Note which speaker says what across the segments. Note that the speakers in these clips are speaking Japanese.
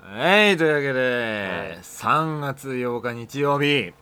Speaker 1: はいというわけで、
Speaker 2: はい
Speaker 1: 3月8日日曜日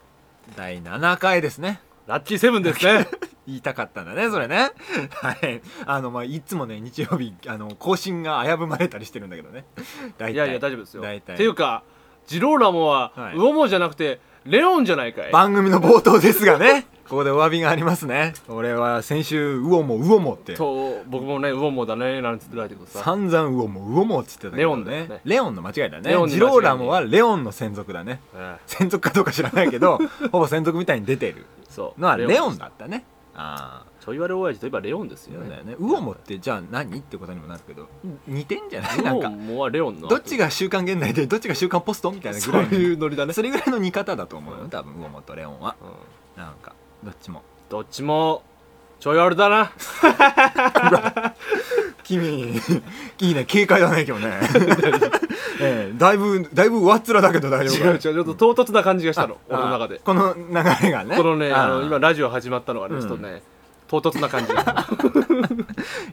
Speaker 1: 第7回ですね
Speaker 2: ラッキーセブンですね
Speaker 1: 言いたかったんだねそれね はいあのまあいつもね日曜日あの更新が危ぶまれたりしてるんだけどね 大体
Speaker 2: いやいや大丈夫ですよ
Speaker 1: 大体
Speaker 2: っていうかジローラモは、
Speaker 1: はい
Speaker 2: ウオモじゃなくてレオンじゃないかい
Speaker 1: 番組の冒頭ですがね ここでお詫びがありますね俺は先週ウオモウオモって
Speaker 2: と僕もねウオモだねなんて言ってたけどさ
Speaker 1: 散々ウオモウオモっつってたけど、ね、
Speaker 2: レオンだよね
Speaker 1: レオンの間違いだね
Speaker 2: レオンの間違いね
Speaker 1: ジローラモはレオンの専属だね
Speaker 2: うん
Speaker 1: 専属かどうか知らないけ どほぼ専属みたいに出てる
Speaker 2: そう
Speaker 1: のはレオン
Speaker 2: だ
Speaker 1: だったねああ
Speaker 2: ちょいわれ親父といえばレオンです
Speaker 1: レ
Speaker 2: よ
Speaker 1: オン
Speaker 2: ね
Speaker 1: だよねウオモってじゃあ何ってことにもなるけど似てんじゃない
Speaker 2: ウ
Speaker 1: なん
Speaker 2: オ
Speaker 1: か
Speaker 2: モはレオンの
Speaker 1: どっちが「週刊現代」でどっちが「週刊ポスト」みたいなぐ
Speaker 2: そう
Speaker 1: らいの
Speaker 2: いうノリだね
Speaker 1: それぐらいの似方だと思うよ多分ウオモとレオンは
Speaker 2: うん
Speaker 1: なんかどっちも
Speaker 2: どっちもちょいわれ だな
Speaker 1: 君 いいね警戒だね今 日ね、ええだいぶだいぶ上っ面だけど大
Speaker 2: 違う
Speaker 1: 丈夫
Speaker 2: 違うちょっと唐突な感じがしたの俺の中で
Speaker 1: この流れがね
Speaker 2: このねあ
Speaker 1: あ
Speaker 2: の
Speaker 1: あ
Speaker 2: 今ラジオ始まったのが
Speaker 1: う
Speaker 2: ね
Speaker 1: ん
Speaker 2: ちょっとね唐突な感じが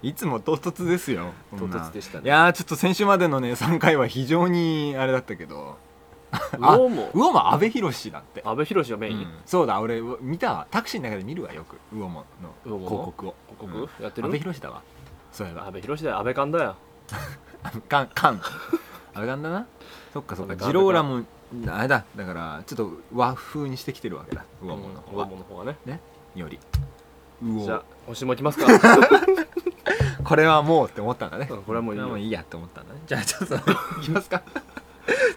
Speaker 1: いつも唐突ですよこんな
Speaker 2: 唐突でしたね
Speaker 1: いやーちょっと先週までのね3回は非常にあれだったけど
Speaker 2: ウオモ
Speaker 1: ウオモ阿部寛だって、
Speaker 2: 阿部寛がメイ
Speaker 1: う
Speaker 2: ン
Speaker 1: んそうだ俺見たわタクシーの中で見るわよくウオモの
Speaker 2: ウオモ
Speaker 1: 広
Speaker 2: の
Speaker 1: 告を
Speaker 2: 広告やって
Speaker 1: うん
Speaker 2: る
Speaker 1: 阿部寛だわそういえば
Speaker 2: 安倍博士だよ安倍寛だよ
Speaker 1: カンカンあれなんだなそっかそっ
Speaker 2: あ
Speaker 1: か
Speaker 2: れか
Speaker 1: ジローラもあれだだからちょっと和風にしてきてるわけだウ
Speaker 2: ウ
Speaker 1: オモの方
Speaker 2: オ
Speaker 1: は
Speaker 2: モの方がね
Speaker 1: ねよりう
Speaker 2: じゃあ
Speaker 1: お
Speaker 2: 星もいきますか
Speaker 1: これはもうって思ったんだね
Speaker 2: うんこれはもういいよ
Speaker 1: いいやって思ったんだねじゃあちょっといきますか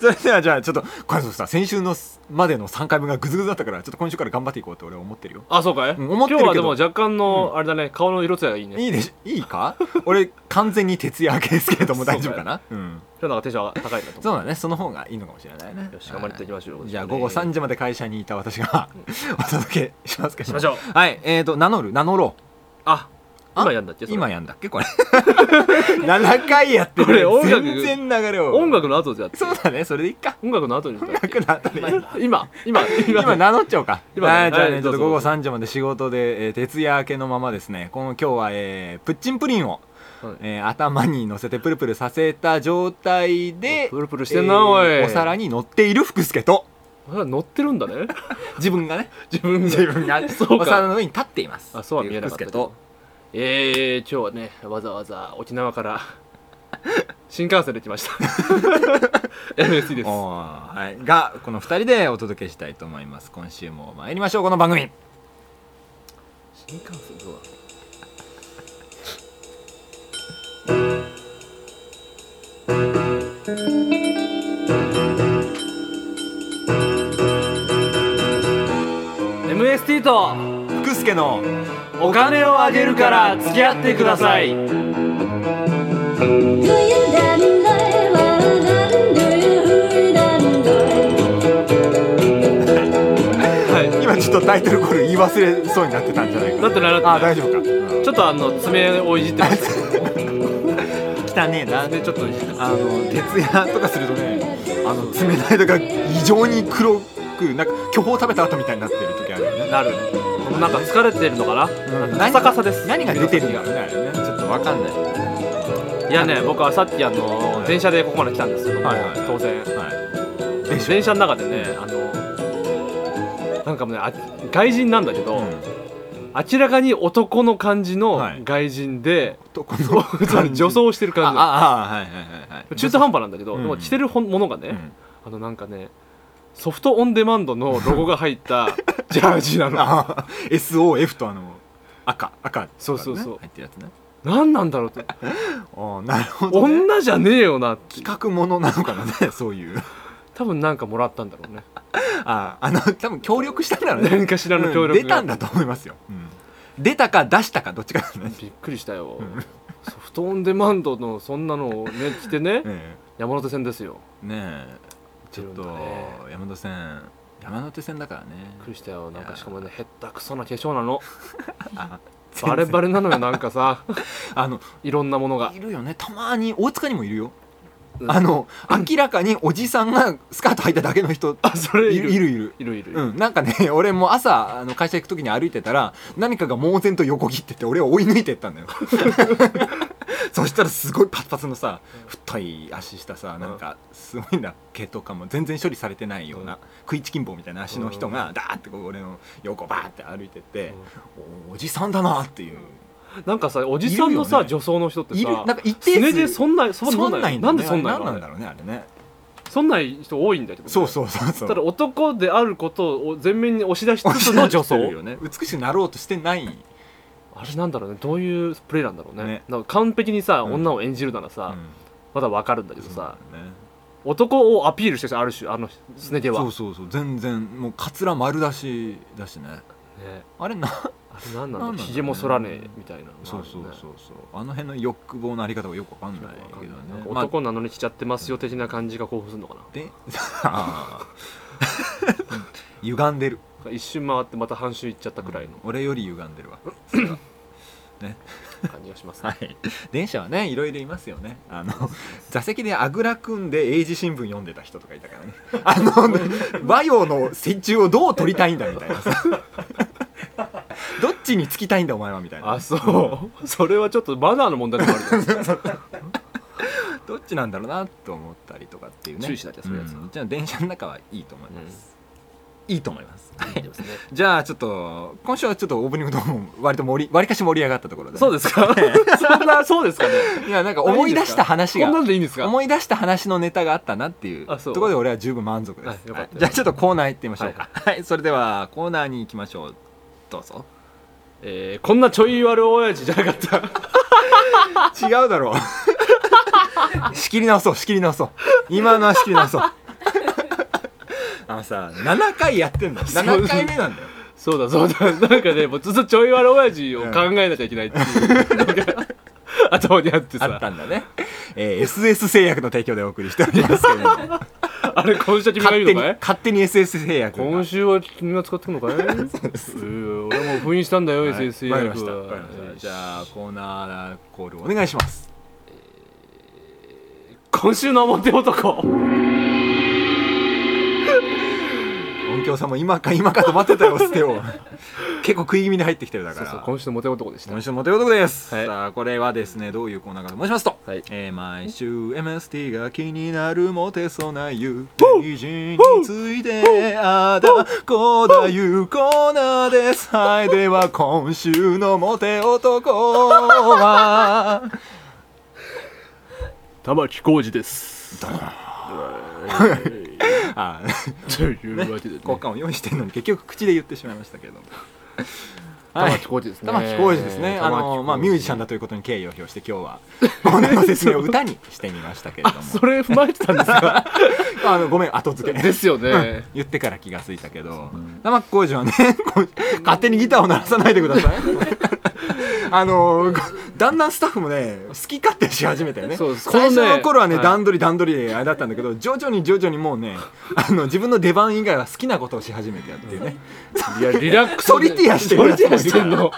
Speaker 1: それではじゃあちょっとこれそうさ先週のまでの3回分がグズグズだったからちょっと今週から頑張っていこうって俺は思ってるよ
Speaker 2: あそうかい
Speaker 1: うん思ってるけど
Speaker 2: 今日はでも若干のあれだね顔の色つやがいいね今
Speaker 1: いいでしいいか 俺完全に徹夜明けですけれども大丈夫かなうん
Speaker 2: 日なんかテンション高いなと
Speaker 1: そ
Speaker 2: 思
Speaker 1: うだねその方がいいのかもしれないね
Speaker 2: よし頑張っていきましょう
Speaker 1: はいじゃあ午後3時まで会社にいた私が お届けしますけ
Speaker 2: うし
Speaker 1: ど
Speaker 2: ましょう
Speaker 1: はいえーと名乗る名乗ろう
Speaker 2: あ
Speaker 1: あ
Speaker 2: 今やんだっけそれ
Speaker 1: 今やんだっけこれ 7回やって
Speaker 2: これ
Speaker 1: る
Speaker 2: 音楽
Speaker 1: 全然流れを
Speaker 2: 音楽の後でやって
Speaker 1: そうだねそれでいっか
Speaker 2: 音楽の後にやったっけ
Speaker 1: 楽なったね
Speaker 2: 今今今
Speaker 1: 今名乗っちゃおうか
Speaker 2: 今ね
Speaker 1: はいじゃあ
Speaker 2: は
Speaker 1: ね
Speaker 2: い
Speaker 1: ちょっ
Speaker 2: どう
Speaker 1: と
Speaker 2: ぞ
Speaker 1: 午後3時まで仕事で、えー徹夜明けのままですねこの今日は、えープッチンプリンを、
Speaker 2: はい
Speaker 1: えー頭に乗せてプルプルさせた状態で
Speaker 2: プルプルしてんな、おい
Speaker 1: えーお皿に乗っている福助と
Speaker 2: お皿乗ってるんだね
Speaker 1: 自分がね
Speaker 2: 自分
Speaker 1: 自分が
Speaker 2: そうか
Speaker 1: お皿の上に立っています
Speaker 2: あそうは見えなかった
Speaker 1: 福助
Speaker 2: け
Speaker 1: と
Speaker 2: どえー、今日はねわざわざ沖縄から新幹線で来ました MSC です
Speaker 1: おーはい、がこの2人でお届けしたいと思います今週も参りましょうこの番組
Speaker 2: 新幹線どうだろう MST と
Speaker 1: 福助の
Speaker 2: お金をあげるから付き合ってください
Speaker 3: Do you dun dun dun dun? Do you dun dun?
Speaker 2: はい
Speaker 1: 今ちょっとタイトルコール言い忘れそうになってたんじゃないか
Speaker 2: だってなだ
Speaker 1: あ
Speaker 2: ってな
Speaker 1: 大丈夫か、うん
Speaker 2: ちょっとあの爪をいじってました
Speaker 1: 汚ねえな
Speaker 2: 爪ちょっといじってま
Speaker 1: あの徹夜とかするとねあの爪の間が異常に黒くなんか巨峰食べた後みたいになってる時あるよ
Speaker 2: す
Speaker 1: ね、
Speaker 2: なるなんか疲れてるのかな、
Speaker 1: うん
Speaker 2: カサカサです
Speaker 1: 何が出てるんだろうねあれねちょっとわかんないはい
Speaker 2: やね僕はさっきあの電車でここまで来たんですよ、
Speaker 1: はいはいはい
Speaker 2: 当然
Speaker 1: いでしょ
Speaker 2: 電車の中でねあのなんかもうねあ外人なんだけど、
Speaker 1: うん
Speaker 2: 明らかに男の感じの
Speaker 1: はい
Speaker 2: 外 人で、
Speaker 1: とこの
Speaker 2: 女装してる
Speaker 1: あ
Speaker 2: 感じ
Speaker 1: ああはいはいはいはい
Speaker 2: 中途半端なんだけど、
Speaker 1: うん
Speaker 2: でも着てるほんものがね、
Speaker 1: うん
Speaker 2: あのなんかねソフトオンデマンドのロゴが入った ジャージな の
Speaker 1: あ SOF とあの赤赤、ね、
Speaker 2: そうそうそう
Speaker 1: 入ってるやつね
Speaker 2: 何なんだろうって
Speaker 1: ああなるほど、ね、
Speaker 2: 女じゃねえよなって
Speaker 1: 企画ものなのかなねそういう
Speaker 2: 多分なんかもらったんだろうね
Speaker 1: あああの多分協力したんだろうね
Speaker 2: 何かしらの協力
Speaker 1: う
Speaker 2: が、
Speaker 1: ん出たんだと思いますよ、出たか出したかどっちかですね、
Speaker 2: びっくりしたよソフトオンデマンドのそんなのをね着てね
Speaker 1: え
Speaker 2: 山手線ですよ
Speaker 1: えねえちょっと
Speaker 2: 出るんだね
Speaker 1: 山手線山手線だからね
Speaker 2: びっくりしたよなんかしかもねへったくそな化粧なの
Speaker 1: あ
Speaker 2: バレバレなの よなんかさ
Speaker 1: あの
Speaker 2: いろんなものが
Speaker 1: いるよねたまに大塚にもいるよ、
Speaker 2: うん
Speaker 1: あの明らかにおじさんがスカート履いただけの人
Speaker 2: あそれ
Speaker 1: い
Speaker 2: い
Speaker 1: る
Speaker 2: る
Speaker 1: い
Speaker 2: いる
Speaker 1: るいる
Speaker 2: いるいる、
Speaker 1: うん、なんかね 俺も朝あの会社行 く時に歩いてたら何かが猛然と横切ってて俺を追い抜いてったんだよそしたらすごいパツパツのさ太い足したさなんかすごいな系統感も全然処理されてないような、
Speaker 2: うん
Speaker 1: 食いチキン棒みたいな足の人がダーってこう俺の横バーって歩いてって、おおじさんだなっていう、
Speaker 2: なんかさおじさんのさ、
Speaker 1: いるよ
Speaker 2: 女装の人って
Speaker 1: いる
Speaker 2: さ
Speaker 1: なんか一定
Speaker 2: すね
Speaker 1: 数
Speaker 2: でそんなそん
Speaker 1: そ
Speaker 2: なんん
Speaker 1: な
Speaker 2: ないい
Speaker 1: ん
Speaker 2: な
Speaker 1: だ
Speaker 2: ん
Speaker 1: ね
Speaker 2: でそんな
Speaker 1: あ
Speaker 2: い
Speaker 1: れなん
Speaker 2: の
Speaker 1: だろうねあれね
Speaker 2: そんない人多いんだけど、ね、
Speaker 1: そうそうそうそう
Speaker 2: ただ男であることを前面に押し出しつつの女装
Speaker 1: よね 美しくなろうとしてない
Speaker 2: あれなんだろうねどういうプレイなんだろうね
Speaker 1: ね
Speaker 2: なんか完璧にさ、
Speaker 1: うん
Speaker 2: 女を演じるならさ、
Speaker 1: うん
Speaker 2: まだわかるんだけどさ、
Speaker 1: そうだね
Speaker 2: 男をアピールしてさある種あのすね毛は
Speaker 1: そうそうそう全然もうカツラ丸出しだしね
Speaker 2: ね
Speaker 1: あれ な
Speaker 2: あれなん
Speaker 1: なんな
Speaker 2: なんだ
Speaker 1: んだろうね
Speaker 2: ひげも剃らねえみたいなのがある
Speaker 1: そうそう
Speaker 2: ね
Speaker 1: そうそうあの辺の欲望のあり方がよくわかんない
Speaker 2: わか
Speaker 1: けど
Speaker 2: んない
Speaker 1: ね
Speaker 2: なんか
Speaker 1: まあ
Speaker 2: 男なのにしちゃってますよ的な感じが興奮するのかな、
Speaker 1: で あー歪んでる
Speaker 2: 一瞬回ってまた半周いっちゃったくらいの
Speaker 1: 俺より歪んでるわ
Speaker 2: 感じがしますね、
Speaker 1: はい電車はねいろいろいますよねあの座席であぐら組んで英字新聞読んでた人とかいたからね あの和洋の折衷をどう取りたいんだみたいな さどっちにつきたいんだお前はみたいな
Speaker 2: あそうそれはちょっとマナーの問題でもあるじゃないですか
Speaker 1: どっちなんだろうなと思ったりとかっていうね
Speaker 2: 注意しなきゃそういうやつは
Speaker 1: んじゃあ電車の中はいいと思います、いいと思います
Speaker 2: いいですね
Speaker 1: じゃあちょっと今週はちょっとオープニングとも割と盛り割りかし盛り上がったところで、
Speaker 2: そうです かそんなそうですかね
Speaker 1: いやなんか 思い出した話が
Speaker 2: こんなんでいいんですか
Speaker 1: 思い出した話のネタがあったなっていう
Speaker 2: あ
Speaker 1: と
Speaker 2: そう
Speaker 1: ころで俺は十分満足で
Speaker 2: はい
Speaker 1: す、
Speaker 2: よかった
Speaker 1: はいじゃあちょっとコーナー行ってみましょうかはい、それではコーナーに行きましょうどうぞ
Speaker 2: えーこんなちょい悪親父じゃなかった
Speaker 1: 違うだろう仕切り直そう 仕切り直そう今のは仕切り直そうあのさ7回や ってんだよ
Speaker 2: そう
Speaker 1: 7回目なんだよ
Speaker 2: そうだそうだなんかねもうずっとちょい悪親父を考えなきゃいけないっていうのが 頭にあって
Speaker 1: あっ
Speaker 2: さ
Speaker 1: たんだね、えー SS 製薬の提供でお送りしておりますけれども
Speaker 2: あれ今週は君 が
Speaker 1: 勝
Speaker 2: 言
Speaker 1: 手に
Speaker 2: うのかい
Speaker 1: 勝手に SS 製薬が
Speaker 2: 今週は君が使ってくのかい そうです俺も封印したんだよ、
Speaker 1: はい
Speaker 2: SSA
Speaker 1: わかりま
Speaker 2: 役
Speaker 1: した
Speaker 2: は
Speaker 1: わかりましたじゃあコーナーコールお願いします
Speaker 2: 今週の表男
Speaker 1: 音響さんも今か今かと待ってたよステ を結構食い気味に入ってきてるだか
Speaker 2: そう
Speaker 1: ら
Speaker 2: そう今週のモテ男でした
Speaker 1: 今週のモテ男です、
Speaker 2: はい
Speaker 1: さあこれはですねどういうコーナーかと申しますと、
Speaker 2: はい
Speaker 1: えー毎週 MST が気になるモテそうな友人についてああだこうだいうコーナーですはいでは今週のモテ男は
Speaker 2: 玉木浩二です
Speaker 1: あ
Speaker 2: というわけで、
Speaker 1: 交
Speaker 2: ね、
Speaker 1: 換を用意してるのに結局口で言ってしまいましたけれどもはい
Speaker 2: 玉置浩二ですね
Speaker 1: 玉置浩二ですね、あ
Speaker 2: 玉置浩
Speaker 1: の
Speaker 2: 二
Speaker 1: まあ、ミュージシャンだということに敬意を表して今日はコーナーの説明を歌にしてみましたけれども
Speaker 2: あそれ踏まえてたんですか
Speaker 1: あのごめん後付け
Speaker 2: ですよね
Speaker 1: 言ってから気がついたけど玉置浩二はね こう勝手にギターを鳴らさないでください あのこだんだんスタッフもね好き勝手し始めたよね
Speaker 2: そうです
Speaker 1: 最初
Speaker 2: この
Speaker 1: の
Speaker 2: ね
Speaker 1: 頃はね
Speaker 2: はい
Speaker 1: 段取り段取りであれだったんだけど徐々に徐々にもうねあの自分の出番以外は好きなことをし始めてやっていうね
Speaker 2: いやリラックス
Speaker 1: ソリティアしてる
Speaker 2: ソリティアしてんの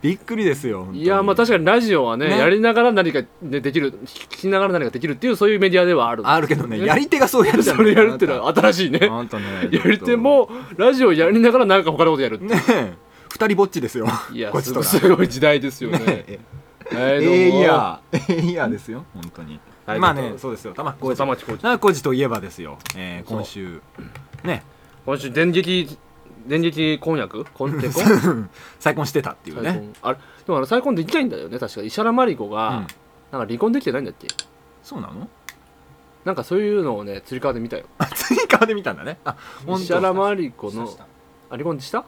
Speaker 1: びっくりですよ本当に
Speaker 2: いやまあ確かにラジオはね
Speaker 1: ね
Speaker 2: やりながら何か、ね、できる聞きながら何かできるっていうそういうメディアではある
Speaker 1: あるけどねやり手がそうやるじゃん
Speaker 2: それやるってのは新しいね
Speaker 1: あんたね
Speaker 2: やり手もラジオやりながら何か他のことやるって
Speaker 1: ねえ二人ぼっちですよ
Speaker 2: いや
Speaker 1: こっち
Speaker 2: す
Speaker 1: と
Speaker 2: ご
Speaker 1: ら
Speaker 2: いすごい時代ですよね
Speaker 1: え
Speaker 2: はいどうも
Speaker 1: ええいやええいやですよ本当に、
Speaker 2: はい
Speaker 1: まあ
Speaker 2: どう
Speaker 1: ね
Speaker 2: ぞ
Speaker 1: そうですよ玉
Speaker 2: 小
Speaker 1: 置浩
Speaker 2: 玉
Speaker 1: 二
Speaker 2: 置浩二
Speaker 1: 玉置浩二といえばですよ、えー、今週ね
Speaker 2: 今週電撃電撃婚約婚結 婚
Speaker 1: 再婚してたっていう
Speaker 2: 再
Speaker 1: ね
Speaker 2: 婚あれでもあの再婚できないんだよね確か石原まり子が、
Speaker 1: うん
Speaker 2: なんか離婚できてないんだっけ
Speaker 1: そうなの
Speaker 2: なんかそういうのをねつり革で見たよ
Speaker 1: ツイッカーで見たんだねあ本当
Speaker 2: 石原まり子の
Speaker 4: した
Speaker 2: あ離婚したあ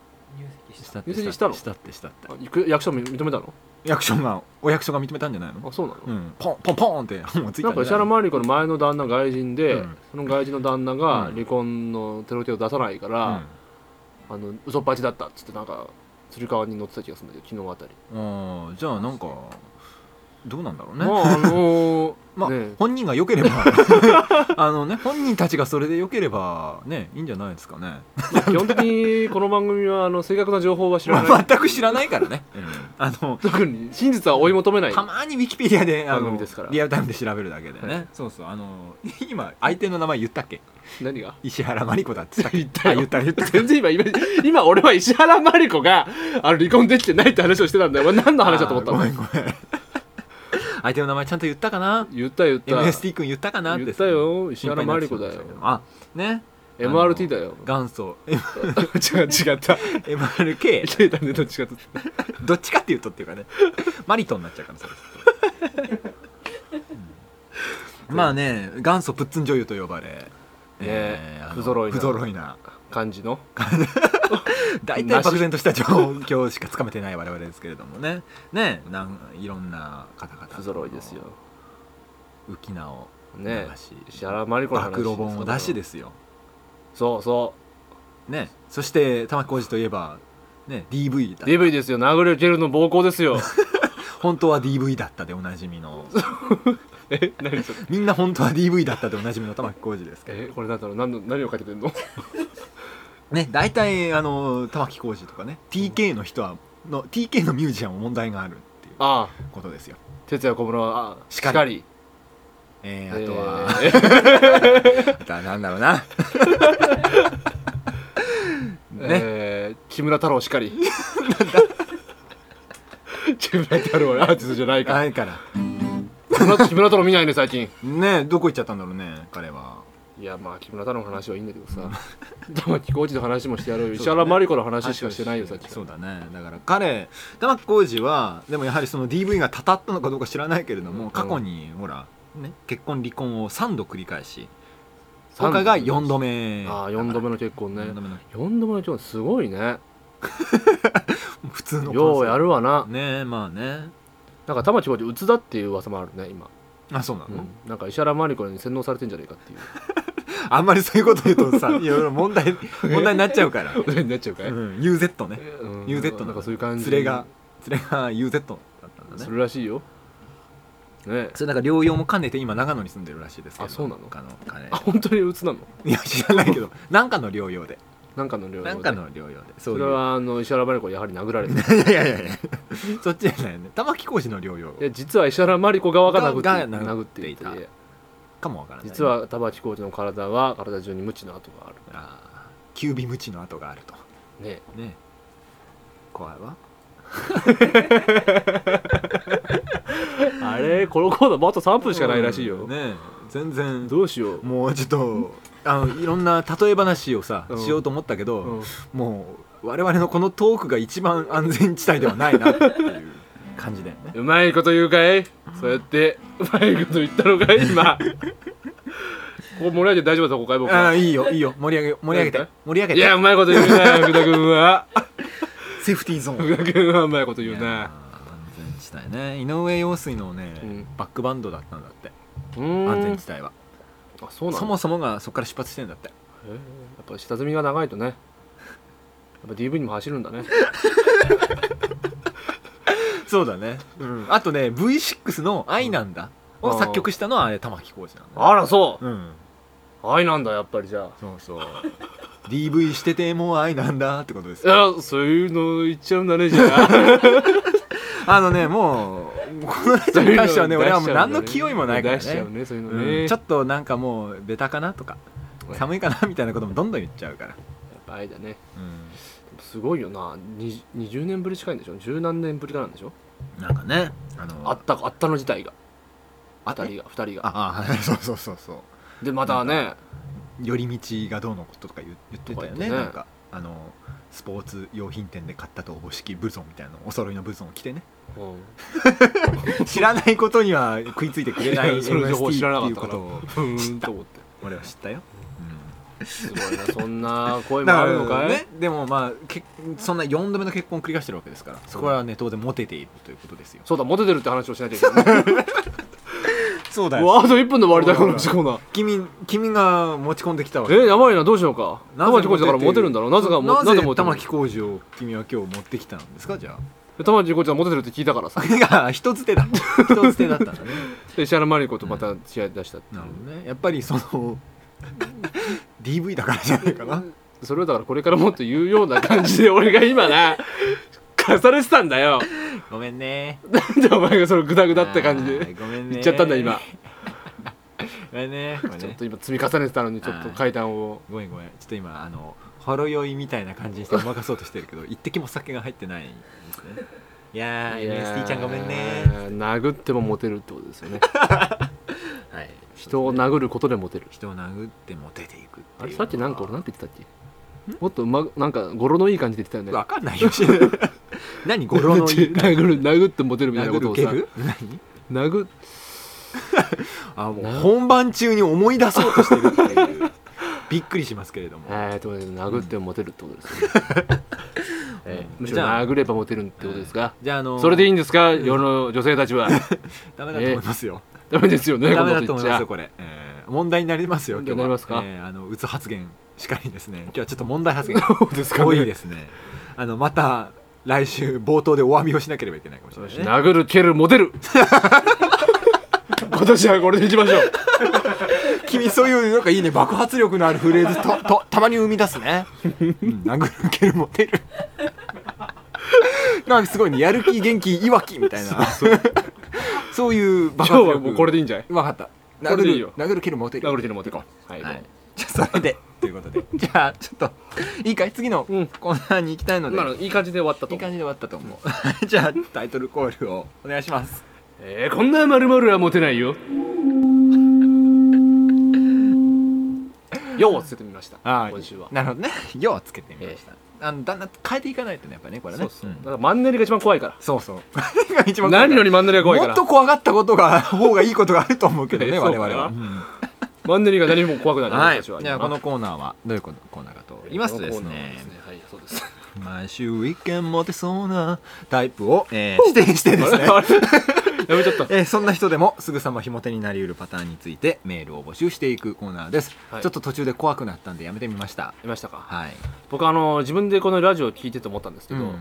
Speaker 1: したっ
Speaker 2: 入籍
Speaker 1: て
Speaker 2: したの
Speaker 1: したってしたって
Speaker 2: ゆく役所も認めたの
Speaker 1: 役所がお役所が認めたんじゃないの
Speaker 2: あそうなの、
Speaker 1: うんポンポンポンってもうツイッ
Speaker 2: な
Speaker 1: タ
Speaker 2: んか
Speaker 1: ー
Speaker 2: 石原まり子の前の旦那外人で、
Speaker 1: うん
Speaker 2: その外人の旦那が
Speaker 1: うん
Speaker 2: 離婚のテロ手を出さないから、あの嘘っぱちだったっつってなんかつり革に乗ってた気がするんだけど昨日あたり、
Speaker 1: うんあーじゃあなんかどうなんだろうね
Speaker 2: まああのー
Speaker 1: まあ、
Speaker 2: ね
Speaker 1: 本人が良ければあのね本人たちがそれで良ければねいいんじゃないですかね
Speaker 2: 基本的にこの番組はあの正確な情報は知ら
Speaker 1: ま
Speaker 2: な
Speaker 1: あ
Speaker 2: い
Speaker 1: 全く知らないから ね、あの
Speaker 2: 特に真実は追い求めない
Speaker 1: たまにウィキペディアであ
Speaker 2: 番
Speaker 1: の
Speaker 2: 組ですから
Speaker 1: リアルタイムで調べるだけでね、
Speaker 2: はい
Speaker 1: そうそうあの 今相手の名前言ったっけ
Speaker 2: 何が
Speaker 1: 石原真理子だって言っ
Speaker 2: 言ったよ
Speaker 1: あ言った言った
Speaker 2: 全然今イメージ今俺は石原まり子があの離婚できてないって話をしてたんだよ俺何の話だと思った
Speaker 1: あーご
Speaker 2: の
Speaker 1: めんごめん 相手の名前ちゃんと言ったかな
Speaker 2: 言った言った
Speaker 1: MST 君言ったかなって
Speaker 2: 言ったよ石原真理子だよ
Speaker 1: 心配になってしまいましたけどあね
Speaker 2: MRT だよ
Speaker 1: 元祖
Speaker 2: 違う違った
Speaker 1: MRK
Speaker 2: 聞いたねと違った
Speaker 1: どっちかっていうとっていうかねマリトンになっちゃうからそれ、うんまあね元祖プッツン女優と呼ばれ、あの
Speaker 2: 不揃いな
Speaker 1: 不揃いな
Speaker 2: 感じの
Speaker 1: 大体漠然とした状況しかつかめてない我々ですけれどもねねなんいろんな方々
Speaker 2: 不揃いですよ
Speaker 1: 浮名を
Speaker 2: ね
Speaker 1: 流し
Speaker 2: 石原真理子の話
Speaker 1: 暴露本を出しですよ
Speaker 2: そうそ
Speaker 1: ねそして玉置浩二といえばね DV
Speaker 2: う
Speaker 1: だ
Speaker 2: DV ですよ殴る蹴るの暴行ですよ
Speaker 1: 本当は DV だったでおなじみの
Speaker 2: え何それ
Speaker 1: みんな本当は DV だったでおなじみの玉置浩二ですけど
Speaker 2: えこれなんだろう何の何を書いてくれるの
Speaker 1: ね大体あの玉置浩二とかね TK の人はの TK のミュージアムも問題があるっていう
Speaker 2: ああ
Speaker 1: ことですよ、
Speaker 2: 哲也小室はあ
Speaker 1: しかり
Speaker 2: り
Speaker 1: えー、
Speaker 2: え
Speaker 1: あとは、
Speaker 2: ーえ
Speaker 1: あとは なんだろうな ね、
Speaker 2: えー木村太郎しかり木村太郎はアーティストじゃないから
Speaker 1: ないから
Speaker 2: 木村木村太郎見ないね最近
Speaker 1: ねどこ行っちゃったんだろうね彼はい
Speaker 2: やまあ木村太郎の話はいいんだけどさ 玉置浩二の話もしてやろうよ石原真理子の話しかしてないよさっき
Speaker 1: そうだねだから彼玉置浩二はでもやはりその DV がたたったのかどうか知らないけれども、
Speaker 2: うん
Speaker 1: 過去にほら、ね、結婚離婚を3度繰り返し今回が4度目
Speaker 2: ああ4度目
Speaker 1: の
Speaker 2: の結婚ね
Speaker 1: 4度目の
Speaker 2: 4度目の結婚すごいね
Speaker 1: 普通の
Speaker 2: ようや
Speaker 1: る
Speaker 2: るわな
Speaker 1: ねえまあね
Speaker 2: なんか玉置浩二鬱だっていう噂もあるね今、
Speaker 1: あそうな
Speaker 2: う
Speaker 1: の、
Speaker 2: ん、なんか石原真理子に洗脳されてんじゃないか っていう
Speaker 1: あんまりそういうこと言うと さいろいろ問題問題になっちゃうから、
Speaker 2: ことになっちゃうかい、
Speaker 1: う
Speaker 2: うん
Speaker 1: ん、UZ ね UZ
Speaker 2: なんかそういう感じ
Speaker 1: 連れが連れが UZ だったんだね
Speaker 2: するらしいよね
Speaker 1: それなんか療養も兼ねて今長野に住んでるらしいですけど
Speaker 2: あそうなの
Speaker 1: かの彼
Speaker 2: あ本当に鬱なの
Speaker 1: いや知らないけどなんかの療養で
Speaker 2: なんかの量
Speaker 1: なんかの療養でそ
Speaker 2: そうれ
Speaker 1: いう
Speaker 2: はあの石原真理子やはり殴られて る
Speaker 1: いやいやいやいやそっちじゃないよね玉置浩二の療養
Speaker 2: いや実は石原真理子側が殴って
Speaker 1: がが
Speaker 2: 殴
Speaker 1: 殴
Speaker 2: っ
Speaker 1: ってて
Speaker 2: い
Speaker 1: い
Speaker 2: て
Speaker 1: たかもわからない
Speaker 2: 実は玉置浩二の体は体中に無知の跡があ
Speaker 1: あーキュービムチの跡があると
Speaker 2: るね
Speaker 1: ね怖いわ
Speaker 2: あれこのコーナーもあと3分しかないらしいよ、
Speaker 1: うんね全然
Speaker 2: どうしよう、
Speaker 1: もうちょっとあのいろんな例え話をさ、
Speaker 2: うん
Speaker 1: しようと思ったけど、
Speaker 2: うん
Speaker 1: もう我々のこのトークが一番安全地帯ではないなっていう感じだよね
Speaker 2: うまいこと言うかいそうやってうまいこと言ったのかい今ここ盛り上げて大丈夫だここかい僕
Speaker 1: あ
Speaker 2: は
Speaker 1: あいいよいいよ盛り上げ盛り上げ
Speaker 2: なん
Speaker 1: て
Speaker 2: か
Speaker 1: 盛り上げ
Speaker 2: いや
Speaker 1: て
Speaker 2: うまいこと言うな福田君は
Speaker 1: セーフティーゾーン
Speaker 2: 福田君はうまいこと言
Speaker 1: い
Speaker 2: う
Speaker 1: や
Speaker 2: な
Speaker 1: ー安全地帯ね井上陽水のね、
Speaker 2: うん
Speaker 1: バックバンドだったんだって
Speaker 2: うーん
Speaker 1: 安全地帯は
Speaker 2: あそうなんだ
Speaker 1: そもそもがそこから出発してんだって
Speaker 2: へえやっぱ下積みが長いとねやっぱ DV にも走るんだね
Speaker 1: そうだね、うん、あとね V6 の「愛なんだ」
Speaker 2: うん
Speaker 1: を作曲したのはあれ玉置浩二なんだよ、
Speaker 2: あらそう
Speaker 1: うん
Speaker 2: 愛なんだやっぱりじゃあ
Speaker 1: そうそう DV しててもう愛なんだってことです
Speaker 2: い
Speaker 1: よ
Speaker 2: やそういうの言っちゃうんだねじゃ あ
Speaker 1: あのねもうこのラジオに関して はね俺はもう何の気負いもないから
Speaker 2: 出しちゃう
Speaker 1: ね
Speaker 2: ねそういうのね、
Speaker 1: うんち
Speaker 2: ちょ
Speaker 1: ょ
Speaker 2: っ
Speaker 1: っとなんかもうベタかなとか
Speaker 2: はい
Speaker 1: 寒いかなみたいなこともどんどん言っちゃうから、
Speaker 2: とやっぱ愛だね
Speaker 1: う
Speaker 2: すごいよなに20年ぶり近いんでしょ十何年ぶりかなんでしょ
Speaker 1: ん、なんかねあの
Speaker 2: あったあったの事態が
Speaker 1: あ
Speaker 2: 二人が二人が
Speaker 1: あ あそうそうそうそう
Speaker 2: でまたね
Speaker 1: 寄り道がどうのこととか言言ってたよね
Speaker 2: とか言ってね
Speaker 1: なんかあのスポーツ用品店で買ったとおぼしきブゾンみたいなのお揃いのブゾンを着てね
Speaker 2: うん
Speaker 1: 知らないことには食いついてくれない
Speaker 2: いや その情報
Speaker 1: MST
Speaker 2: 知らな
Speaker 1: って
Speaker 2: かっ
Speaker 1: いう
Speaker 2: た
Speaker 1: ことを
Speaker 2: からふーんと思って
Speaker 1: 俺は知ったよ、
Speaker 2: すごいなそんな声
Speaker 1: だか
Speaker 2: もあ
Speaker 1: ら
Speaker 2: るのかい、
Speaker 1: ねでもまあけそんな4度目の結婚を繰り返してるわけですからそこはね当然モテているということですよ
Speaker 2: そうだモテてるって話をしなきゃい けない
Speaker 1: そうだ
Speaker 2: うわあと1分で終わりだこのコーナー
Speaker 1: 君君が持ち込んできたわけ
Speaker 2: えやばいなどうしようか玉置浩二だからモテるんだろうなぜ
Speaker 1: な
Speaker 2: かなぜモ
Speaker 1: ぜ
Speaker 2: テる
Speaker 1: 玉置浩二を君は今日持ってきたんですかじゃ
Speaker 2: 玉置浩二はモテてるって聞い たからさ
Speaker 1: あが人捨てだ人捨てだったんだね
Speaker 2: で石原真理子とまた試合出したっていう
Speaker 1: なるほどねやっぱりその DV だからじゃないかな
Speaker 2: それをだからこれからもっと言うような感じで俺が 今な貸されてたんだよ
Speaker 1: ごめんね
Speaker 2: なんでお前がそのグダグダって感じで
Speaker 1: ごめんね
Speaker 2: 言っちゃったんだ今
Speaker 1: ごめんねごめん
Speaker 2: ちょっ
Speaker 1: ね
Speaker 2: と今積み重ねてたのにちょっと階段を
Speaker 1: ごめんごめんちょっと今あ のほろ酔いみたいな感じにしてごまかそうとしてるけど一滴も酒が入ってないんですねいやー
Speaker 2: いや
Speaker 1: MST ちゃんごめんね
Speaker 2: 殴ってもモテるってことですよね
Speaker 1: はい
Speaker 2: 人を殴ることでモテる
Speaker 1: 人を殴っても出ていくっていう
Speaker 2: あれさっきなんか俺なんんて言ってたっけもっとうまなんか語呂のいい感じで言ってたよね
Speaker 1: わかん ないよ何語呂のいい感じ
Speaker 2: 殴る殴ってモテるみたいなこ
Speaker 1: 殴
Speaker 2: と
Speaker 1: る
Speaker 2: を
Speaker 1: 蹴
Speaker 2: さ
Speaker 1: る何
Speaker 2: 殴
Speaker 1: あもう
Speaker 2: な
Speaker 1: 本番中に思い出そうとしてるっていうびっくりしますけれども、
Speaker 2: えーと殴ってもモテるってことですよね、 えーむしろ
Speaker 1: じゃあ
Speaker 2: 殴ればモテるってことですか、
Speaker 1: じゃああの
Speaker 2: それでいいんですか世の女性たち は
Speaker 1: ダメだと思いますよ、
Speaker 2: ダメですよね
Speaker 1: ダメだ
Speaker 2: ことの
Speaker 1: 思い
Speaker 2: 言っち
Speaker 1: ま
Speaker 2: ゃ
Speaker 1: すよこれ、えー問題になりますよ今日
Speaker 2: な
Speaker 1: は
Speaker 2: りますか
Speaker 1: えーあのうつ発言しかりですね今日はちょっと問題発 言
Speaker 2: そうですかね
Speaker 1: 多いですねあのまた来週冒頭でお詫びをしなければいけないかもしれない、ね、
Speaker 2: 殴る蹴るモ テる今年はこれでいきましょう
Speaker 1: 君そういうなんかいいね爆発力のあるフレーズととたまに生み出すね、うん、殴る蹴るモテるなんかすごいねやる気元気いわきみたいなそういう
Speaker 2: 今
Speaker 1: 爆
Speaker 2: 日
Speaker 1: 発力
Speaker 2: はもうこれでいいんじゃない
Speaker 1: 分かった
Speaker 2: こ
Speaker 1: 殴
Speaker 2: れでいい
Speaker 1: る
Speaker 2: よ
Speaker 1: 殴る蹴るモテる
Speaker 2: 殴る蹴るモテるはい、
Speaker 1: はい じゃあそれでということで じゃあちょっといいかい次のコ
Speaker 2: うん
Speaker 1: ーナーに行きたいので、
Speaker 2: 今のいい感じで終わったと
Speaker 1: いい
Speaker 2: 思う
Speaker 1: 感じで終わったと思う じゃあタイトルコールをお願いします
Speaker 2: えーこんなまるまるはモテないよ ようつけてみました
Speaker 1: ああ
Speaker 2: 今週は
Speaker 1: なるほどね「よ」をつけてみました、あのだんだん変えていかないとねやっぱねこれね
Speaker 2: そうそう、
Speaker 1: ん
Speaker 2: だからマンネリが一番怖いから
Speaker 1: そうそう。 が一番怖い
Speaker 2: 何よりマンネリが怖いか
Speaker 1: も
Speaker 2: ら
Speaker 1: っと怖がったことが、方がいいことがあると思うけどね、
Speaker 2: そう
Speaker 1: 我
Speaker 2: か
Speaker 1: 々
Speaker 2: な
Speaker 1: は。
Speaker 2: マンネリが何も怖くなる
Speaker 1: はい。
Speaker 2: 私
Speaker 1: じ
Speaker 2: は
Speaker 1: ゃあ、このコーナーは、どういうコーナーかと言いますとです
Speaker 2: このコーナー
Speaker 1: ね
Speaker 2: で、すはいそうです
Speaker 1: 毎週一見モテそうなタイプを、えー指定してです ね。
Speaker 2: あれやめちゃった
Speaker 1: えーそんな人でもすぐさまひも手になりうるパターンについてメールを募集していくコーナーです、
Speaker 2: はい
Speaker 1: ちょっと途中で怖くなったんでやめてみました
Speaker 2: いましたか
Speaker 1: はい、
Speaker 2: 僕あの自分でこのラジオを聞いてて思ったんですけ
Speaker 1: う
Speaker 2: ど、
Speaker 1: ん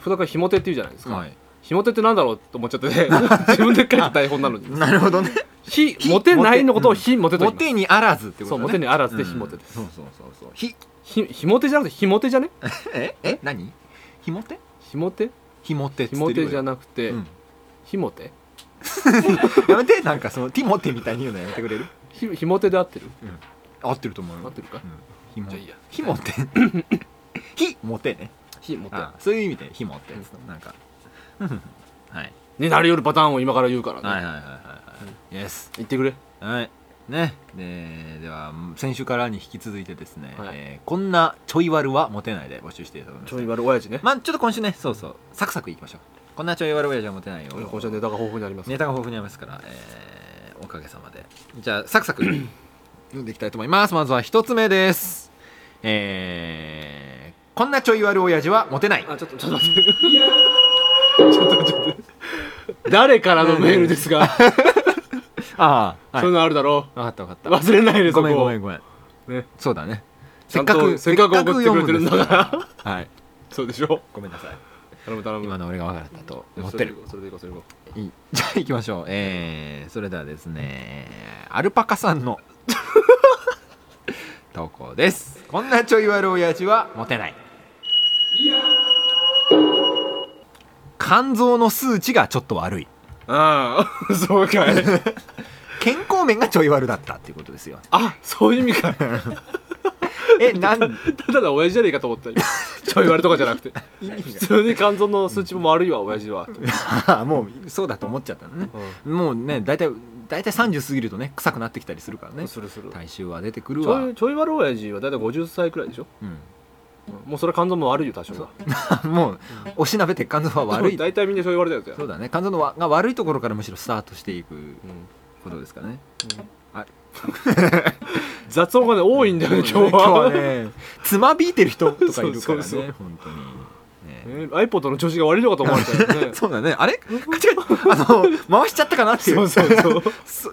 Speaker 2: 普段からひも手って言うじゃないですか、
Speaker 1: はい、
Speaker 2: ひも手ってなんだろうと思っちゃって ね自分で書いた台本なのに
Speaker 1: なるほどね
Speaker 2: ひモテないのことをひモテと
Speaker 1: モ
Speaker 2: 言います
Speaker 1: テにあらずってことだね
Speaker 2: そうモテにあらずでひも手です
Speaker 1: うんそうそうそうそうひ
Speaker 2: ひひも手じゃなくてひも手じゃね
Speaker 1: ええ何ひも手
Speaker 2: ひも手
Speaker 1: ひも手っつ
Speaker 2: ひ
Speaker 1: って
Speaker 2: も
Speaker 1: るよ
Speaker 2: 手じゃなくて、
Speaker 1: うん
Speaker 2: ひも手
Speaker 1: やめてなんかそのティモテみたいに言うのやめてくれる
Speaker 2: ひひも手で合ってる
Speaker 1: 合ってると思う
Speaker 2: 合ってるか
Speaker 1: ひも
Speaker 2: じゃあいいや
Speaker 1: ひも 手ひも手ね
Speaker 2: ひも手
Speaker 1: あそういう意味でひも手ですなんかうんはい
Speaker 2: になりよるパターンを今から言うからね、
Speaker 1: はいはいはいはいはいイエス
Speaker 2: 言ってくれ
Speaker 1: はいねででは先週からに引き続いてですね、
Speaker 2: はい
Speaker 1: えーこんなちょい悪はモテないで募集していただきます
Speaker 2: ちょい悪親父ね、
Speaker 1: まあちょっと今週ねそうそうサクサクいきましょうこんなちょい悪親父はモテないよ
Speaker 2: 今週はネタが豊富にあります
Speaker 1: ネタが豊富にありますから、えーおかげさまでじゃあサクサク読んでいきたいと思いますまずは一つ目ですえーこんなちょい悪親父はモテない
Speaker 2: あちょっとちょっと待って 誰からのメールですが、
Speaker 1: ああ
Speaker 2: そういうのあるだろ
Speaker 1: 分かった分
Speaker 2: う
Speaker 1: かっ
Speaker 2: 忘れないで
Speaker 1: た
Speaker 2: す
Speaker 1: ごめんごめんごめん
Speaker 2: ね
Speaker 1: そうだね
Speaker 2: ちゃんとせっかく送ってくれてるんだから
Speaker 1: 読むです からはい
Speaker 2: そうでしょ
Speaker 1: ごめんなさい
Speaker 2: 頼む頼む
Speaker 1: 今の俺が分かったと思ってる
Speaker 2: それでいこうそれでいこ
Speaker 1: い いじゃあ行きましょうえー、それではですねアルパカさん の投稿ですこんなちょい悪親父はモテない肝臓の数値がちょっと悪いう
Speaker 2: ああ そうかい
Speaker 1: 健康面がちょい悪だったっていうことですよ
Speaker 2: あそういう意味か
Speaker 1: えなん
Speaker 2: ただの親父じゃねえかと思った今ちょい割とかじゃなくて
Speaker 1: 意味
Speaker 2: 普通に肝臓の数値も悪いわ親父は、うん
Speaker 1: がもうそうだと思っちゃったのねもうね大体大体30過ぎるとね臭くなってきたりするからね
Speaker 2: するする
Speaker 1: 体臭は出てくる
Speaker 2: ち
Speaker 1: わ
Speaker 2: ょいちょい悪親父は大体50歳くらいでしょ、
Speaker 1: うん
Speaker 2: もうそれは肝臓も悪いよ多少は
Speaker 1: もうおしなべて肝臓は悪い
Speaker 2: 大体みんなちょい悪だよ
Speaker 1: そうだね肝臓のわが悪いところからむしろスタートしていく
Speaker 2: うん
Speaker 1: ことですかね
Speaker 2: 雑音がね多いんだよね 今日は
Speaker 1: ねつまびいてる人とかいるからね
Speaker 2: そうそうそう
Speaker 1: 本当にね
Speaker 2: ね iPod の調子が悪いのかと思われたよね
Speaker 1: そうだねあれカチカチあの回しちゃったかなっていう
Speaker 2: そうそうそう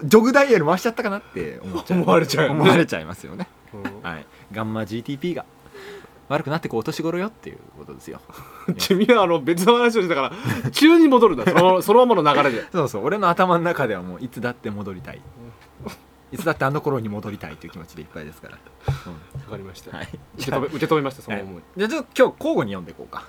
Speaker 1: そジョグダイヤル回しちゃったかなって思っちゃう
Speaker 2: 思われちゃうよね
Speaker 1: 思われちゃいますよね
Speaker 2: うん
Speaker 1: はいガンマ GTP が悪くなってこうお年頃よっていうことですよ
Speaker 2: 君はあの別の話をしてたから 急に戻るんだそのそのままの流れで
Speaker 1: そうそう俺の頭の中ではもういつだって戻りたいいつだってあの頃に戻りたいという気持ちでいっぱいですから、
Speaker 2: わかりました、
Speaker 1: うんはい
Speaker 2: 受け止め受け止めましたその思い、
Speaker 1: じゃあちょっと今日交互に読んでいこうか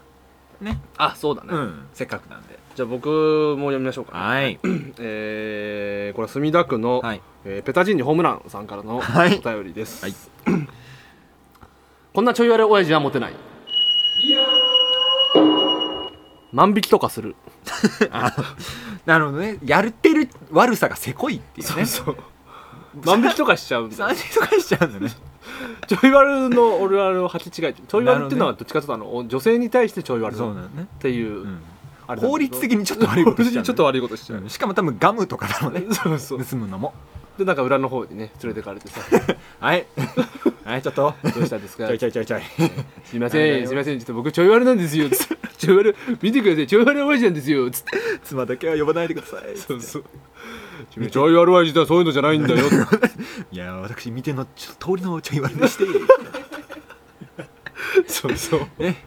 Speaker 2: あそうだね、
Speaker 1: うんせっかくなんで
Speaker 2: じゃあ僕も読みましょうか、
Speaker 1: はい
Speaker 2: えーこれは墨田区の、
Speaker 1: はい
Speaker 2: えーペタジーニホームランさんからのお
Speaker 1: はい
Speaker 2: 便りです、
Speaker 1: はい
Speaker 2: こんなちょい悪い親父はモテない万引きとかする
Speaker 1: なるほどねやってる悪さがせこいっていう
Speaker 2: そう
Speaker 1: ね
Speaker 2: そう 万引きとかしちゃうんだ
Speaker 1: 三振とかしちゃうんだね
Speaker 2: ちょいワルのオルワルを履き違えてちょいワルっていうのはどっちかというとあの女性に対してちょいワル
Speaker 1: そう
Speaker 2: っ
Speaker 1: なのね、
Speaker 2: ていう
Speaker 1: うん、
Speaker 2: あれなんだけど
Speaker 1: 法律的にちょっと悪いことしちゃう、ね、
Speaker 2: ちょっと悪いことしちゃう、
Speaker 1: うんしかも多分ガムとかだろうね
Speaker 2: そうそう
Speaker 1: 盗むのも
Speaker 2: でなんか裏の方にね連れてかれ てさ
Speaker 1: はい はいちょっと
Speaker 2: どうしたんですか
Speaker 1: ちょいちょいちょいちょい
Speaker 2: すいま
Speaker 1: あれだ
Speaker 2: せ
Speaker 1: よ
Speaker 2: んすいませんちょっと僕ちょい悪なんですよつってちょい悪見てくださいちょい悪親父なんですよつって
Speaker 1: 妻だけは呼ばないでください
Speaker 2: そうそうちょい悪親父とはそういうのじゃないんだよ
Speaker 1: いや私見てのちょっと通りのちょい悪でして
Speaker 2: そうそう
Speaker 1: ね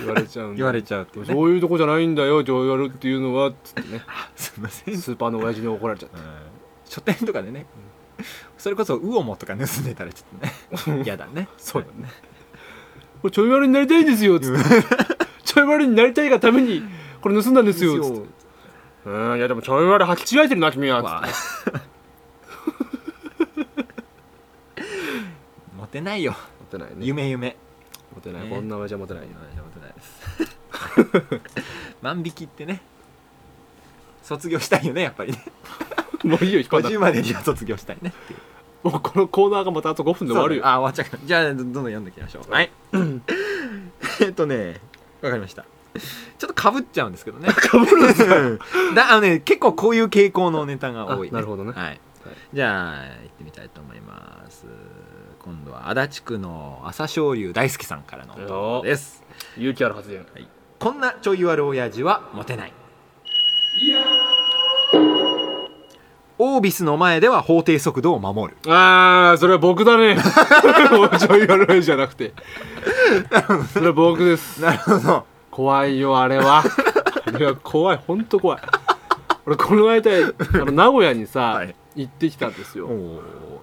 Speaker 2: 言われちゃうんだ
Speaker 1: 言われちゃうっていうね
Speaker 2: そういうとこじゃないんだよちょい悪っていうのはつってね
Speaker 1: すいません、うん
Speaker 2: スーパーの親父に怒られちゃって
Speaker 1: 書店とかでねそれこそウオモとか盗んでたらちょっとね嫌だね
Speaker 2: そうだね これちょい悪になりたいんですよつってちょい悪になりたいがためにこれ盗んだんですよつってうーんいやでもちょい悪履き違えてるな君はつ って
Speaker 1: わあモテないよ
Speaker 2: モテないね
Speaker 1: 夢夢
Speaker 2: モテない
Speaker 1: ね
Speaker 2: こんな親父はモテないよ
Speaker 1: モテないです 万引きってね卒業したいよねやっぱりね
Speaker 2: もういいよ引っ張んな
Speaker 1: 50までには卒業したいねっていう
Speaker 2: もうこのコーナーがまたあと5分で終わるよ
Speaker 1: そうだねあ終わっちゃうじゃ あどんどん読んでいきましょうはい えっとねわかりましたちょっとかぶっちゃうんですけ どねかぶるんですだあのね結構こういう傾向のネタが多い、ね、
Speaker 2: あなるほどね
Speaker 1: はい、じゃあ行ってみたいと思います今度は足立区の朝青龍大好きさんからの
Speaker 2: よっ
Speaker 1: です
Speaker 2: 勇気ある発言
Speaker 1: こんなちょい悪親父はモテないオービスの前では法定速度を守る
Speaker 2: ああそれは僕だね もうちょい悪いじゃなくてそれは僕です
Speaker 1: なるほど
Speaker 2: 怖いよあれはあれは怖いほんと怖い俺この間あの名古屋にさ、
Speaker 1: はい
Speaker 2: 行ってきたんですよ
Speaker 1: お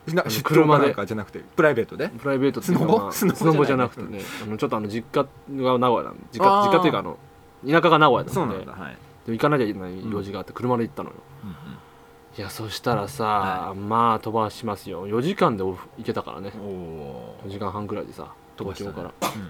Speaker 1: な
Speaker 2: の
Speaker 1: 出張
Speaker 2: 車
Speaker 1: か
Speaker 2: で
Speaker 1: なんかじゃなくてプライベートで
Speaker 2: プライベートっていう
Speaker 1: スノボ
Speaker 2: か
Speaker 1: スノボ
Speaker 2: スノボじゃなくてね、あのちょっとあの実家が名古屋なの実家
Speaker 1: あー
Speaker 2: 実家っていうかあの田舎が名古屋
Speaker 1: そう
Speaker 2: な
Speaker 1: な
Speaker 2: ので
Speaker 1: んだはい、
Speaker 2: で行かなきゃいけない用事があって車で行ったのよ、いやそしたらさ、
Speaker 1: は
Speaker 2: まあ飛ばしますよ4時間で往復行けたからね
Speaker 1: おお
Speaker 2: 4時間半くらいでさ
Speaker 1: 飛ばしたね
Speaker 2: 東京から、
Speaker 1: うん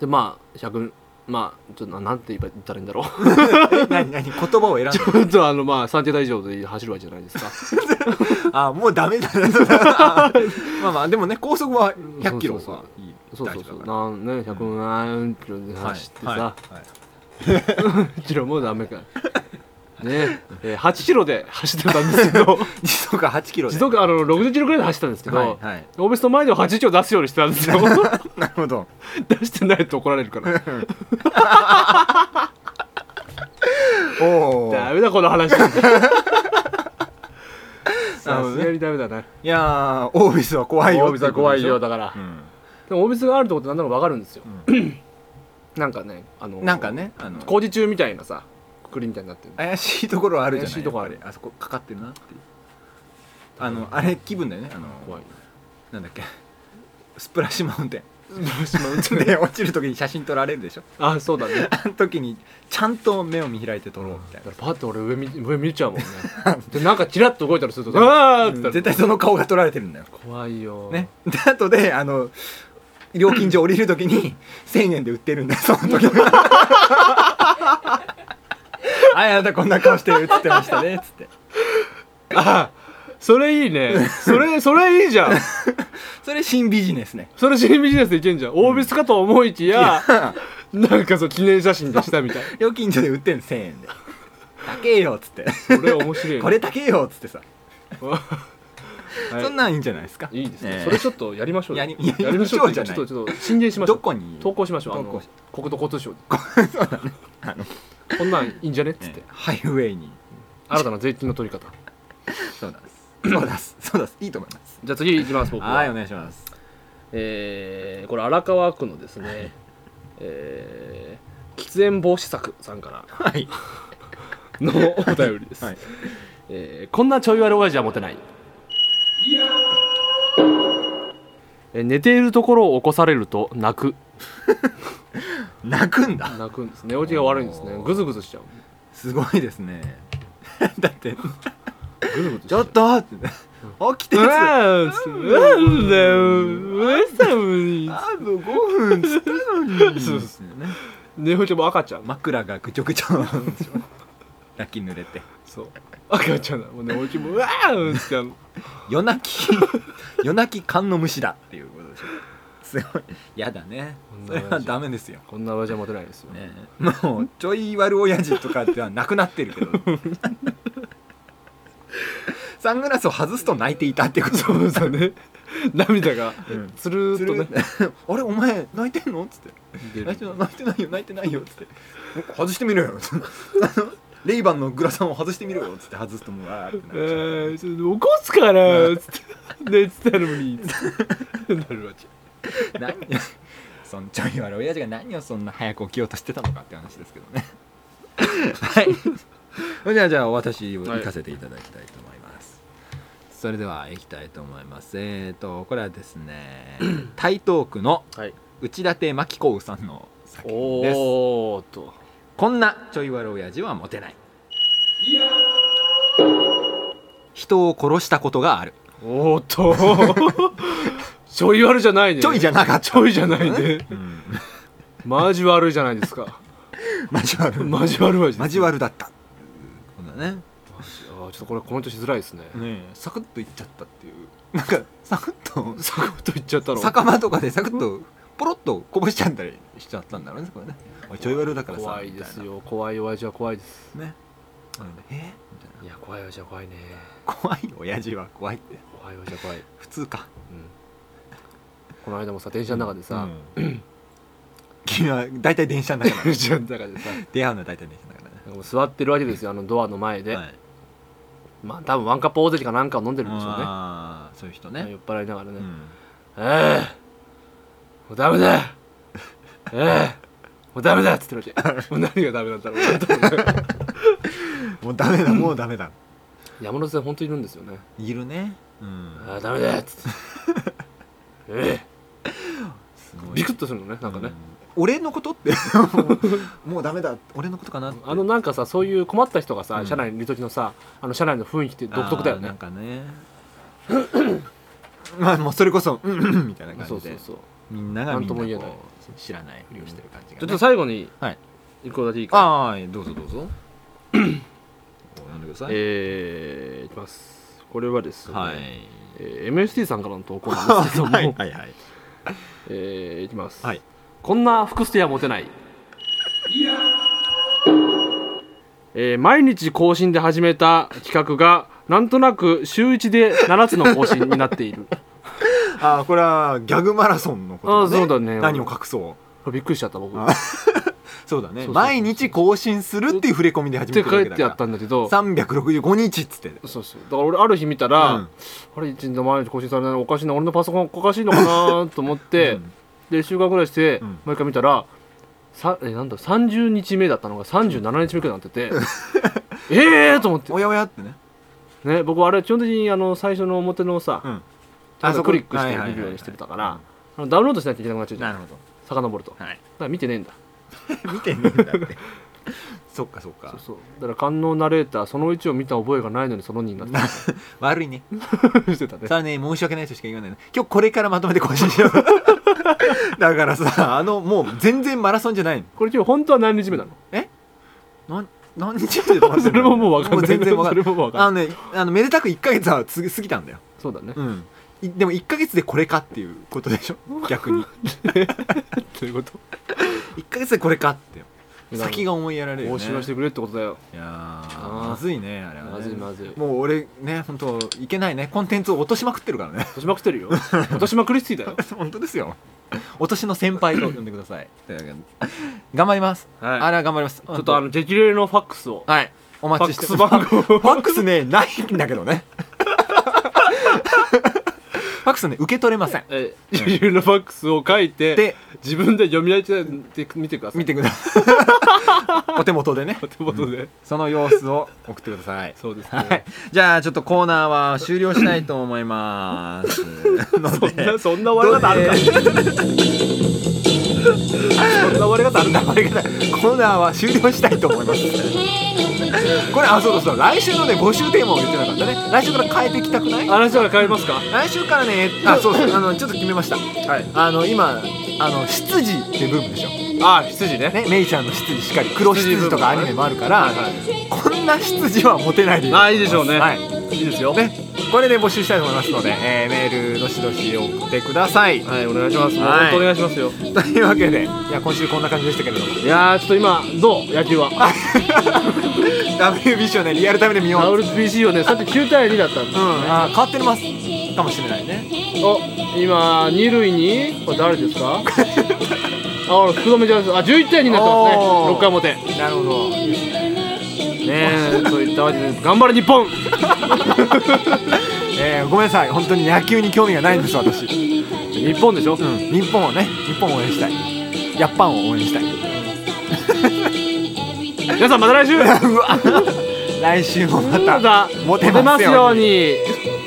Speaker 2: でまあ100まあちょっとななんて言えば言ったらいいんだ ろう
Speaker 1: え何 何言葉を選んだ
Speaker 2: ちょっとあのまあ3桁以上で走るわけじゃないです か
Speaker 1: あもうダメだな まあまあでもね高速は100キロ
Speaker 2: そうそう
Speaker 1: は
Speaker 2: そう
Speaker 1: いい
Speaker 2: そうそうそう
Speaker 1: 大丈夫だか
Speaker 2: なんね100何キロで
Speaker 1: ら
Speaker 2: 走ってさ、
Speaker 1: はいはい
Speaker 2: 1キロもダメかねえー8キロで走ってたんです けど
Speaker 1: 時速8キロで
Speaker 2: 自動あの60キロぐらいで走ったんですけど、
Speaker 1: はいはい
Speaker 2: オーベスの前では8キロ出すようにしてた んですよ
Speaker 1: なるほど
Speaker 2: 出してないと怒られるから
Speaker 1: おお
Speaker 2: ダメだこの話さす
Speaker 1: なるほどね
Speaker 2: がにダメだない
Speaker 1: やーオービスは怖いよ
Speaker 2: オービスは怖いよだから、
Speaker 1: うん
Speaker 2: でもオービスがあるってことなんだろう分かるんですよ、 なんかねあの
Speaker 1: なんかねあの
Speaker 2: 工事中みたいなさくくりみたいになってる
Speaker 1: 怪しいところはあるじゃない
Speaker 2: 怪しいとこある
Speaker 1: やっぱりあそこかかってるなっていうあのあれ気分だよねあの
Speaker 2: 怖い
Speaker 1: なんだっけスプラッシュマウン テ
Speaker 2: ね
Speaker 1: ンで落ちる時に写真撮られるでしょ
Speaker 2: あそうだね
Speaker 1: あの時にちゃんと目を見開いて撮ろうみたい
Speaker 2: だからパッと俺上見上見ちゃうも んねでなんかチラッと動いたりするとああって
Speaker 1: な
Speaker 2: なる
Speaker 1: 絶対その顔が撮られてるんだよ
Speaker 2: 怖いよ、
Speaker 1: ねで後であの料金所降りる時に1000円で売ってるんだよその時 はいあなたこんな顔して映ってましたねっつって
Speaker 2: あそれいいね それそれいいじゃん
Speaker 1: それ新ビジネスね
Speaker 2: それ新ビジネスでいけんじゃんオービスかと思いきや、なんかそう記念写真出したみたい
Speaker 1: 料金所で売ってんの1000円で高えよっつって
Speaker 2: それ面白いね
Speaker 1: これ高えよっつってさ、
Speaker 2: はい
Speaker 1: そんなんいいんじゃないですか
Speaker 2: いいですね、
Speaker 1: ええ
Speaker 2: それちょっとやりましょうよ
Speaker 1: やりやり
Speaker 2: やりましょうって
Speaker 1: じゃ
Speaker 2: う
Speaker 1: な
Speaker 2: か
Speaker 1: い
Speaker 2: ちょっとちょっと進言しましょう
Speaker 1: どこに
Speaker 2: 投稿しましょうあ
Speaker 1: 投稿
Speaker 2: の
Speaker 1: し
Speaker 2: 国土交通省に こんなんいいんじゃねっつっ
Speaker 1: え
Speaker 2: て、
Speaker 1: えハイウェイに
Speaker 2: 新たな税金の取り方
Speaker 1: そうだすそうだすそうだすいいと思います
Speaker 2: じゃあ次いきます僕は
Speaker 1: はいお願いします
Speaker 2: えーこれ荒川区のですね、えー喫煙防止策さんから
Speaker 1: はい
Speaker 2: のお便りです、
Speaker 1: はい
Speaker 2: えーこんなちょい悪親父は持てないえー寝ているところを起こされると泣く
Speaker 1: 泣くんだ
Speaker 2: 泣くんです寝起きが悪いんですね
Speaker 1: おー
Speaker 2: グズグズしちゃう
Speaker 1: すごいですね だって
Speaker 2: グズグズし
Speaker 1: ちょっとって 起きて
Speaker 2: う
Speaker 1: るっつって
Speaker 2: わーつうわーだようわー寒 い
Speaker 1: あと5分っつったのに
Speaker 2: そうっ
Speaker 1: ね
Speaker 2: ネホちゃんも赤ちゃん
Speaker 1: 枕がぐちょぐちょなんでしょ 泣き濡れて
Speaker 2: そう赤ちゃんだもうネホちゃんもうわーっつってあの
Speaker 1: 夜泣き 夜泣き缶の虫だっていうことでしょすごいやだねそれはダメですよ、
Speaker 2: こんな親父はモテないですよ、
Speaker 1: ねえ、もうちょい悪親父とかではなくなってるけど サングラスを外すと泣いていたってこと
Speaker 2: そうだね 涙が
Speaker 1: うん
Speaker 2: つるーっとね、
Speaker 1: あれお前泣いてんの?」っつって
Speaker 2: 出
Speaker 1: 泣いてな
Speaker 2: る
Speaker 1: い泣いてないよ泣いてないよ」っつって「外してみろよ」っつってあの レイバンのグラサンを外してみろよ」っつって外すともうあーってなっ
Speaker 2: え
Speaker 1: ちゃう
Speaker 2: ー、ちょっと起こすからつって寝てたのにつってなるわけ
Speaker 1: 何そんちょい悪い親父が何をそんな早く起きようとしてたのかって話ですけどねはいそれ ではじゃあ私を行かせていただきたいと思います、それでは行きたいと思いますえっ、ー、とこれはです ね台東区の
Speaker 2: はい
Speaker 1: 内立真紀子さんの作品です
Speaker 2: おおと
Speaker 1: こんなちょい悪親父はモテない人を殺したことがある
Speaker 2: おおとちょい悪じゃないね
Speaker 1: ちょいじゃなかった
Speaker 2: ちょいじゃないね
Speaker 1: うん
Speaker 2: マジ悪いじゃないですか
Speaker 1: 交わる
Speaker 2: マジ悪いわ
Speaker 1: 交
Speaker 2: 悪
Speaker 1: わるだったこんなね
Speaker 2: あーちょっとこれコメントしづらいですね
Speaker 1: ねえサクッといっちゃったっていうなんかサクッと
Speaker 2: 坂本言っちゃったの
Speaker 1: 酒場とかでサクッとポロッとこぼしちゃったりしちゃったんだろうねこれねおいちょい悪だからさ
Speaker 2: 怖いですよ怖い親父は怖いです
Speaker 1: みたいなねうんえみたいない
Speaker 2: や怖い親父は怖いね
Speaker 1: 怖い親父は怖いって
Speaker 2: 怖い親父は怖い、うん、
Speaker 1: 普通か
Speaker 2: この間もさ電車の中でさ、
Speaker 1: うん 君は大体電車の中だ
Speaker 2: 電車の中でさ
Speaker 1: 出会うのは大体電車の中だね
Speaker 2: もう座ってるわけですよあのドアの前で、
Speaker 1: はい
Speaker 2: まあ多分ワンカップ大関かなんかを飲んでるんでしょうね
Speaker 1: ああそういう人
Speaker 2: まあ
Speaker 1: ね
Speaker 2: 酔っ払いながらね、
Speaker 1: うん
Speaker 2: ええもうダメだええもうダメだっつってるわけもう何がダメなんだろう多分ね
Speaker 1: もうダメだもうダメだ
Speaker 2: 山手線本当にいるんですよね
Speaker 1: いるねうん
Speaker 2: ああダメだっつってえ
Speaker 1: す
Speaker 2: え
Speaker 1: ごい
Speaker 2: ビクッとするのねなんかね、
Speaker 1: うん俺のことって もうダメだ俺のことかなって
Speaker 2: あのなんかさそういう困った人がさ、
Speaker 1: うん
Speaker 2: 車内にいる時のさあの車内の雰囲気って独特だよ
Speaker 1: あー
Speaker 2: ね
Speaker 1: なんかね まあもうそれこそうんうんみたいな感じで
Speaker 2: そうそうそう
Speaker 1: みんながみんなこ
Speaker 2: なんとも
Speaker 1: う
Speaker 2: 言えない
Speaker 1: 知らないふりをしてる感じ
Speaker 2: ちょ
Speaker 1: が、
Speaker 2: っ
Speaker 1: ね
Speaker 2: と最後に
Speaker 1: はい
Speaker 2: 一個だけいいかな
Speaker 1: ああどうぞどう ぞお読んでください、
Speaker 2: えー、いきますこれはですね、
Speaker 1: はい
Speaker 2: えー MST さんからの投稿なんですけど も、
Speaker 1: はいはいはい
Speaker 2: えーいきます、
Speaker 1: はい
Speaker 2: こんな服捨ては持てないえー毎日更新で始めた企画がなんとなく週1で7つの更新になっている
Speaker 1: ああこれはギャグマラソンのことだ、ね、
Speaker 2: あーそうだね
Speaker 1: 何を隠そう
Speaker 2: びっくりしちゃった僕っ
Speaker 1: あそうだね
Speaker 2: そうそうそう
Speaker 1: 毎日更新するっていう触れ込みで始めて
Speaker 2: て
Speaker 1: る
Speaker 2: 書
Speaker 1: わ
Speaker 2: い
Speaker 1: けだ
Speaker 2: て
Speaker 1: か
Speaker 2: あ
Speaker 1: ら
Speaker 2: ったんだけど
Speaker 1: 365日っつって
Speaker 2: そうそうだから俺ある日見たら、
Speaker 1: うん
Speaker 2: あれ一日毎日更新されないのおかしいな俺のパソコンおかしいのかなと思って、
Speaker 1: うん
Speaker 2: で週間ぐらいして、
Speaker 1: うん
Speaker 2: 毎回見たらさえなんだ30日目だったのが37日目くらいになってて ええと思って、
Speaker 1: おやおやってね
Speaker 2: ね、僕あれ基本的にあの最初の表のさ、
Speaker 1: うん
Speaker 2: ちゃんと
Speaker 1: そこ
Speaker 2: クリックして
Speaker 1: はいはいはい
Speaker 2: 見るようにしてたから、あのダウンロードしなきゃいけなくなっちゃうじゃ
Speaker 1: なんるほど
Speaker 2: 遡るとだか
Speaker 1: はい
Speaker 2: ら見てねえんだ
Speaker 1: 見てねえんだって そっかそっか
Speaker 2: そうそうだから観音ナレーターその1を見た覚えがないのにその2に なって
Speaker 1: 悪いね
Speaker 2: たしてたね
Speaker 1: さあね申し訳ないとしか言わないの今日これからまとめて更新しよう だからさあのもう全然マラソンじゃない
Speaker 2: これ今日本当は何日目なの
Speaker 1: のなん何日まで止まってんの
Speaker 2: それももう分かんない
Speaker 1: 全然分かんない
Speaker 2: それももう分
Speaker 1: あの
Speaker 2: か
Speaker 1: ねあのめでたく1か月はつ過ぎたんだよ
Speaker 2: そうだね、
Speaker 1: うんいでも1か月でこれかっていうことでしょ逆 に
Speaker 2: ということ
Speaker 1: 1か月でこれかって先が思いやられるよ
Speaker 2: 応
Speaker 1: ね
Speaker 2: 酬をしてくれってことだよ
Speaker 1: いや
Speaker 2: あ
Speaker 1: ー
Speaker 2: ー
Speaker 1: まずいねあれはね
Speaker 2: まずいまずい
Speaker 1: もう俺ね本当いけないねコンテンツを落としまくってるからね
Speaker 2: 落としまくってるよ落としまくりすぎだよ
Speaker 1: 本当ですよ落としの先輩と呼んでくださ いというわけで頑張ります、
Speaker 2: はい
Speaker 1: あれは頑張りますち
Speaker 2: ちょっとあの激励のファックスを
Speaker 1: はいお
Speaker 2: フ
Speaker 1: 待
Speaker 2: ァ
Speaker 1: ち
Speaker 2: ッ
Speaker 1: し
Speaker 2: ク
Speaker 1: て
Speaker 2: ス番号
Speaker 1: ファックスねないんだけどね ファックスね受け取れません
Speaker 2: え激励のファックスを書いて
Speaker 1: で
Speaker 2: 自分で読み上げてみてください
Speaker 1: 見てくださ いお手元でね
Speaker 2: ということで
Speaker 1: その様子を送ってください
Speaker 2: そうです
Speaker 1: はい
Speaker 2: ね、
Speaker 1: じゃあちょっとコーナーは終了したいと思いますの
Speaker 2: そんな
Speaker 1: で
Speaker 2: そんな終わり方あるかそんな終わり方あるか
Speaker 1: あれがコーナーは終了したいと思いますこれあそうだそうだ来週のね募集テーマを言ってなかったね来週から変えていきたくない
Speaker 2: 話は変えますか
Speaker 1: 来週からねあそうそうあのちょっと決めました、はい、あの今あの執事ってブームでしょ
Speaker 2: ああ羊ね
Speaker 1: ね、メイちゃんの執事しっかり黒執事とかアニメもあるから、
Speaker 2: はいはい
Speaker 1: こんな執事は持てないでいいと思
Speaker 2: ああいいでしょうね、
Speaker 1: はい、
Speaker 2: いいですよ
Speaker 1: ねこれで募集したいと思いますので、えーメールどしどし送ってください
Speaker 2: はいお願いします、
Speaker 1: はい
Speaker 2: 本当お願いしますよ
Speaker 1: というわけでいや今週こんな感じでしたけれども
Speaker 2: いやーちょっと今どう野球は
Speaker 1: WBC をねリアルタイムで見よう
Speaker 2: WBC をねさっき9対2だったんです
Speaker 1: うんあー変わってますかもしれないね
Speaker 2: お今二塁にこれ誰ですかあ俺福留じゃないですあ11対2になってますね
Speaker 1: おー
Speaker 2: 6回表ね
Speaker 1: なるほど
Speaker 2: えそういったわけで頑張れ日本
Speaker 1: えーごめんなさい本当に野球に興味がないんです私日
Speaker 2: 日本でしょ、
Speaker 1: 本をね日本を応援したいやっぱんを応援したい
Speaker 2: 皆さんまた来週
Speaker 1: うわ来週もまた
Speaker 2: また
Speaker 1: モテますように
Speaker 2: モテますように